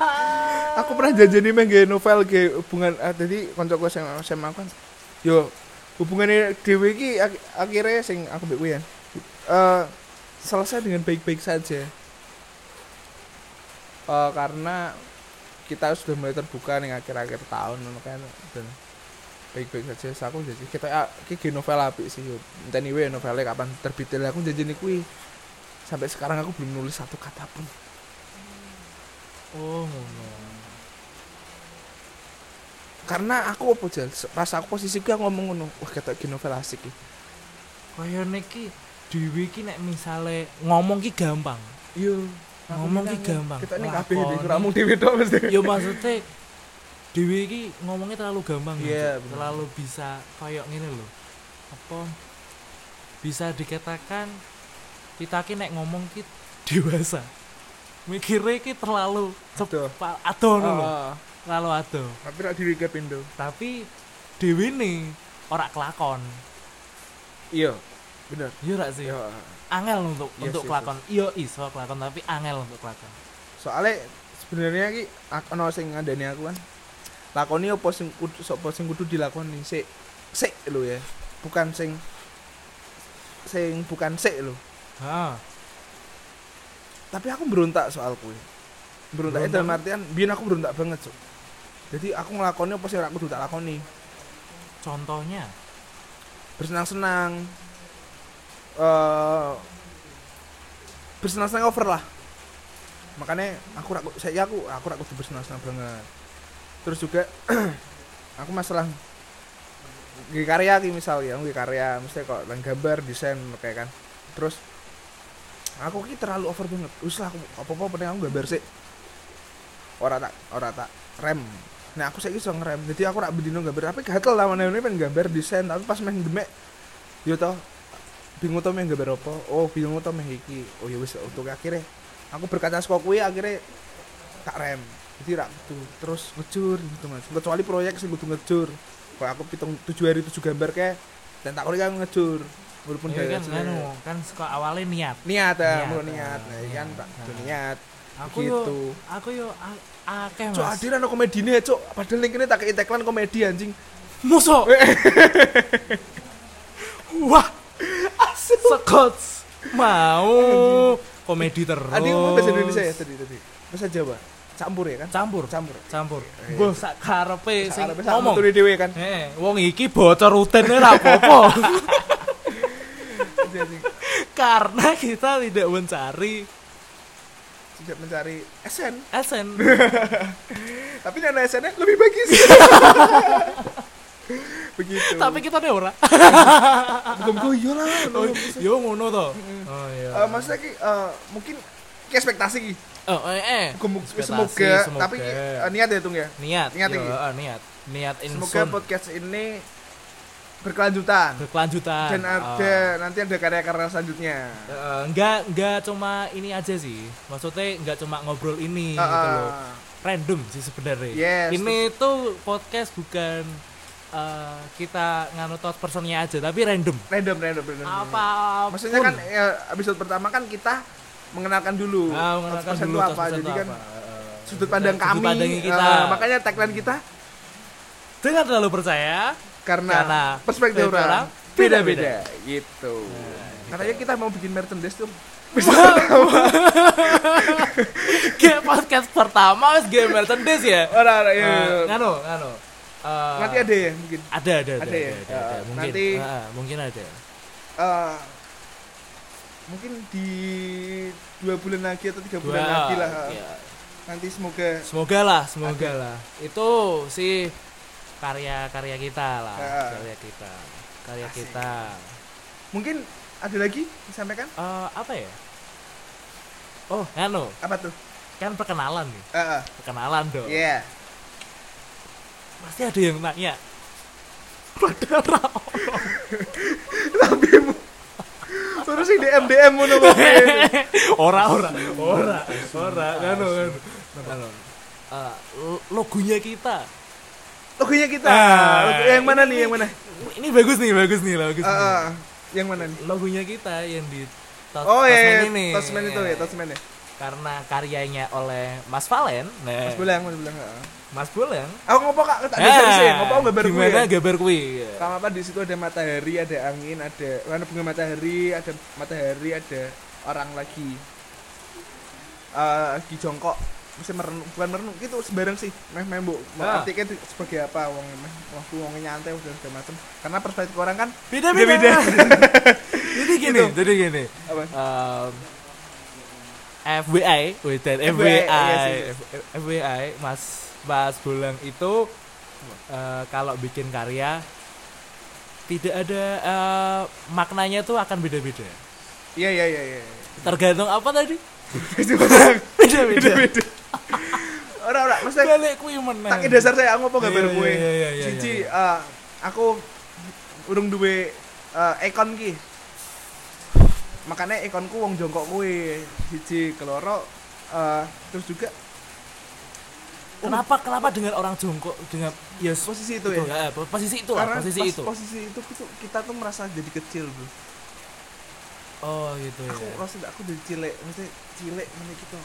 aku pernah janjani meh nggawe novel ge hubungan ah, jadi kancaku SMA SMA aku kan yo hubungannya dhewe iki ak- akhirnya sing aku mbek kowe ya. Eh selesai dengan baik-baik saja. Eh karena kita sudah mulai terbuka nih akhir-akhir tahun ngono kan dan baik-baik saja So, aku jadi kita ah, iki ge novel apik sih yo. Enteni wae novelnya kapan terbitin aku janjani kuwi. Sampai sekarang aku belum nulis satu kata pun.
oh ngono
karena aku apa jel pas aku posisi gue ngomong ngono wah kata gini novel asik iki.
kaya niki dhewe ki nek misale ngomong ki gampang
iya
Ngomong ki gampang.
kita ini
Lakoni.
kabeh di ngomong dhewe tok mesti
ya maksudnya Dewi iki ngomongnya terlalu gampang gitu.
Iya, bener.
terlalu bisa koyok gini loh apa bisa dikatakan kita ki nek ngomong ki dewasa mikirnya ki terlalu
Adoh.
cepat adoh ngono lho.
Ah,
terlalu adoh
tapi rak diri pindo
tapi Dewi nih ora kelakon
iya bener ah.
iya rak sih
iya
angel untuk
Yes,
untuk
yes,
kelakon iya iso kelakon tapi angel untuk kelakon
soalnya sebenarnya ki aku ono sing ngandani aku kan lakoni opo sing kudu sapa sing kudu dilakoni sik sik lho ya bukan sing sing bukan sik lho
ha
tapi aku berontak soal kue berontaknya
Berontak?
dalam artian biar aku berontak banget Cuk. jadi aku ngelakoni apa sih yang aku dulu tak lakoni
contohnya
bersenang-senang eh bersenang-senang over lah makanya aku raku, saya aku aku raku bersenang-senang banget terus juga aku masalah di karya ki misalnya aku nggih karya misalnya kok lan gambar desain kayak kan terus aku ki terlalu over banget wis lah aku apa apa penting aku gambar sih ora tak ora tak rem nah aku saya iso ngerem jadi aku rak bedino gambar tapi gatel lah mana ini pengen gambar desain tapi pas main demek yo toh bingung toh main gambar apa oh bingung toh main iki oh ya wis untuk akhirnya aku berkaca saka kuwi akhirnya tak rem jadi rak itu terus ngejur gitu mas kecuali proyek sih kudu ngejur kalau aku pitung tujuh hari tujuh gambar kayak dan tak kali kan ngejur walaupun
ya
gaya
kan
jelek.
anu, kan suka awalnya niat
niat ya
Niat,
mau niat
ah,
nah iya kan
niat,
tak kudu
ah.
niat
aku yo
gitu
aku yo a- akeh
Cok
mas
hadir ana komedine cok padahal link ini tak kei tagline komedi anjing
musuh wah asu sekots mau komedi terus
Tadi ngomong bahasa Indonesia ya tadi tadi. Bahasa Jawa. Campur ya kan?
campur
Campur.
campur
Iya,
mbah sak karepe Iya, sing
Arabnya sama
ngomong
turu dhewe kan.
eh wong iki bocor utennya ra apa-apa
Jadi
karena kita tidak mencari
tidak mencari SN,
esen
tapi nana SN -nya lebih bagus. Begitu.
tapi kita deh ora
Iya, bukan gue iya lah.
Oh,
Eh,
yo ngono to oh iya
maksudnya ki eh, mungkin ki ekspektasi ki.
oh, eh, eh.
Gemuk-
Ekspektasi,
semoga, tapi ki, eh, niat ya tung ya.
niat
Niat
yo,
iki.
eh, niat niat
Semoga
insun
podcast ini berkelanjutan
berkelanjutan Ah.
dan ada nanti ada karya-karya selanjutnya.
Eh, eh, enggak enggak cuma ini aja sih maksudnya enggak cuma ngobrol ini
Ah,
gitu
ah.
loh random sih sebenarnya
Yes,
ini tuh podcast bukan eh, kita nganu thought personnya aja tapi random
Random, random, random.
apa
Maksudnya kan ya, episode pertama kan kita mengenalkan dulu
ah, mengenalkan
100%
dulu
itu
thought
apa
person
jadi
itu
kan
apa. Eh,
sudut pandang
sudut
kami
pandangnya
eh,
kita
makanya tagline kita
Dengan terlalu percaya
karena,
Karena
perspektif
perspektif orang
orang
beda-beda. Nah,
beda-beda gitu. Katanya kita mau bikin merchandise tuh.
Kayak podcast pertama wis game merchandise ya.
Ora ora, iya, iya,
Eh,
iya.
Nganu, nganu. Eh,
Nanti ada ya mungkin.
ada ada ada,
Ada ya?
ada, ada.
Eh,
mungkin
nanti-
Ah, mungkin ada
Eh, mungkin di dua bulan lagi atau tiga bulan
Dua,
lagi lah.
ya.
Nanti semoga
semoga lah semoga lah itu sih karya-karya kita lah
Ah.
karya kita karya
Asik.
kita
mungkin ada lagi disampaikan
Eh, apa ya oh nganu
apa tuh?
kan perkenalan nih
Heeh.
perkenalan dong
Iya.
pasti ada yang nanya padahal ra ono.
Lambimu. Terus sing DM DM ngono kok.
ora ora ora ora nganu nganu nganu Eh, logonya kita
Logonya kita.
Ah,
Logo- yang mana nih? Yang mana?
ini bagus nih bagus nih bagus
Ah,
nih.
ah. yang mana nih?
logonya kita yang di Tos-
Oh ya,
Tasman ini.
Tasman itu ya, Tasman ya.
Karena karyanya oleh Mas Valen. Nah,
Mas Bulang, Mas Bulang. heeh.
Mas Buleng.
Aku ngopo kak, tak
Nah,
bisa sih, ngopo aku gambar gue. ya.
gimana gambar gue?
Kamu apa di situ ada matahari, ada angin, ada warna bunga matahari, ada matahari, ada orang lagi eh di jongkok mesti merenung bukan merenung itu sebarang sih meh meh bu
Ah.
artinya itu sebagai apa wong meh waktu wong nyantai udah segala macem karena perspektif orang kan
Beda-beda.
Beda-beda.
jadi
Gitu.
gini, jadi gini.
apa
Um, FBI, wait, dan
FBI,
FBI,
iya sih.
F- FBI, Mas Mas Buleng itu eh, kalau bikin karya tidak ada eh, maknanya tuh akan beda-beda.
iya iya iya iya
Tergantung apa tadi?
Itu orang.
Beda-beda.
beda ora ora maksudnya
Balik kuwi meneh.
tak dasar saya aku ngomong gambar
Iya,
gue
iya, iya, iya,
cici
iya.
eh, aku urung duwe eh, ekon ki makanya ekonku wong jongkok kue cici keloro eh, terus juga
Kenapa kenapa dengan orang jongkok dengan ya s-
posisi itu
itu,
ya
ya, posisi itu lah,
karena
posisi
pas
itu.
posisi itu kita, kita tuh merasa jadi kecil bro
oh gitu ya.
aku merasa aku jadi cilik mesti cilik mana gitu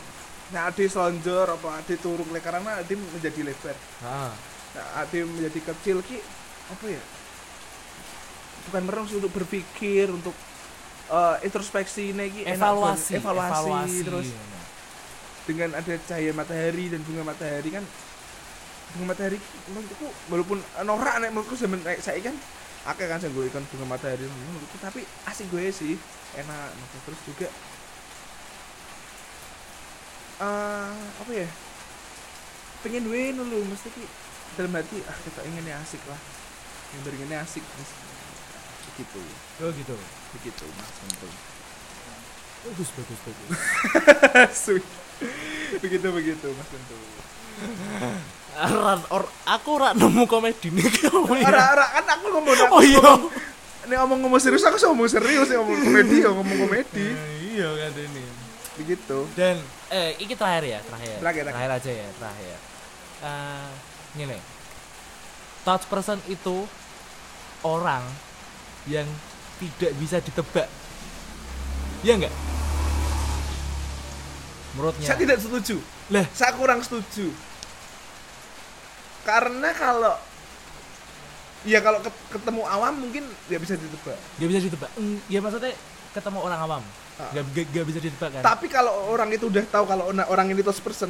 nah ade selonjor apa ade turun le karena ade menjadi lebar
Ah.
Nah, hati menjadi kecil ki apa ya? Bukan merenung sih untuk berpikir, untuk eh, introspeksi ini ki enak
Evaluasi,
banget. evaluasi,
evaluasi.
terus dengan ada cahaya matahari dan bunga matahari kan bunga matahari ki, menurutku walaupun norak nek menurutku zaman nek saya kan akeh kan sing gue ikon bunga matahari menurutku tapi asik gue sih enak gitu. terus juga eh apa ya pengen duit dulu mesti ki dalam hati ah kita ingin yang asik lah yang ini asik terus begitu
Oh gitu.
begitu mas Menteri.
Bagus bagus bagus.
Asik. begitu begitu mas Menteri.
Ran, or, aku ora nemu komedi nih kamu
ora
ya.
ora kan aku ngomong aku
Oh iya.
nih ngomong ngomong serius aku sih ngomong serius nih ngomong komedi ya ngomong komedi
Eh, Iya kan ini.
begitu
Dan eh ini terakhir ya, terakhir.
Terakhir, terakhir.
aja ya, terakhir. Eh gini. Touch person itu orang yang tidak bisa ditebak. Iya enggak? Menurutnya.
saya tidak setuju
Lah,
saya kurang setuju karena kalau ya kalau ket- ketemu awam mungkin ya bisa ditebak
nggak bisa ditebak. Mm, Ya maksudnya ketemu orang awam.
Ah.
Nggak nggak- nggak bisa ditebak kan?
tapi kalau orang itu udah tahu kalau ona- orang ini tos person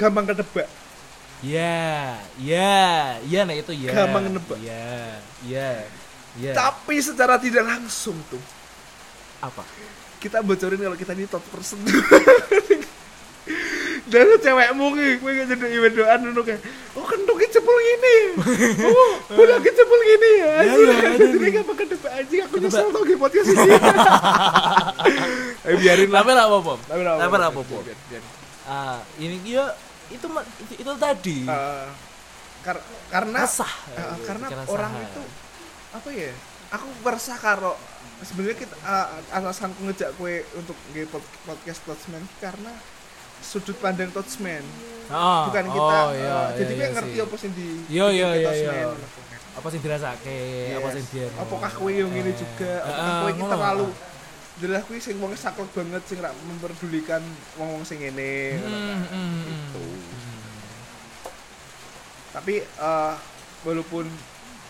gampang ketebak
Ya, ya, ya nah itu ya.
Gampang nebak.
Ya, ya, ya.
tapi secara tidak langsung tuh
apa?
kita bocorin kalau kita ini top person dan lu cewekmu ki kowe gak jadi wedoan ngono kayak oh kentuki cepul gini oh bola ki cepul gini ya
Ya,
anjir
ya, ada
jadi
nih.
gak bakal debat anjing aku
Ketebak.
nyesel tau ki podcast ini ayo biarin lah
Tapi lah apa,
tapi lah
Tapi lah apa, Pom?
biar- biar.
Ah, ini dia itu ma- itu, itu tadi.
Eh, kar- karena
Resah.
Eh,
Aduh,
karena
pikiran
orang
saha.
itu apa ya aku merasa karo sebenarnya kita eh, alasanku ngejak kue untuk nge pod- podcast Touchman karena sudut pandang Touchman
Ah,
bukan
oh,
kita eh,
iya, iya,
jadi
iya
gue ngerti
sih.
apa sih di
Iya, iya,
di
iya,
Touchman.
iya. apa sih dirasake, apa
Yes.
sih dia.
apakah kue yang ini juga
Eh,
apakah
eh,
kue kita
ngono.
terlalu jelas kue sing wong saklek banget sing ra memperdulikan wong wong sing ini Gitu.
Hmm, hmm, hmm.
tapi eh walaupun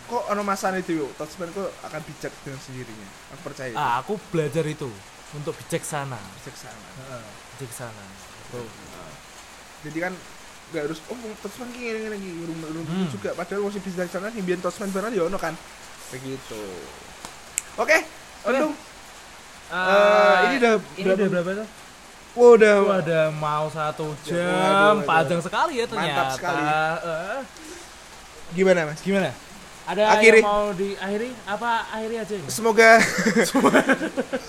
kok ono masane dhewe touchman kok akan bijak dengan sendirinya aku percaya itu.
Ah, aku belajar itu untuk bijaksana,
bijaksana
bijaksana.
jadi kan nggak harus oh wong touchman ki ngene ngene ki urung urung
Hmm.
juga padahal wong sing bijaksana sing biyen touchman barang ya ono kan begitu oke untung Eh, ini udah-
Ah, ini
udah-
udah berapa tuh?
wow udah
Wah, udah mau satu
Jam,
jam,
waduh,
panjang sekali ya ternyata.
Mantap sekali.
Eh,
gimana mas
gimana? Ada
Akhiri.
yang mau diakhiri? Apa akhiri aja? ini?
semoga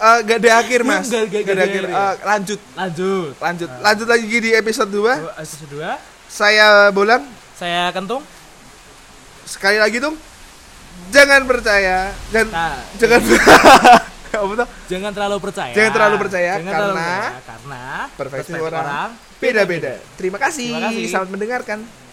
Eh, gak ada akhir mas
Nggak- nggak-
Nggak ada akhir
nggak ada akhir. ya? Ah.
Eh, lanjut
Lanjut.
lanjut lanjut lagi di episode 2
Dua- Episode dua.
saya bolang
Saya kentung.
sekali lagi dong jangan percaya dan
Nah,
jangan apa tuh
jangan terlalu percaya.
Jangan terlalu percaya,
Jangan terlalu
karena-
percaya, karena
perfeksi
perspektif
orang beda-beda terima kasih.
Terima kasih.
selamat mendengarkan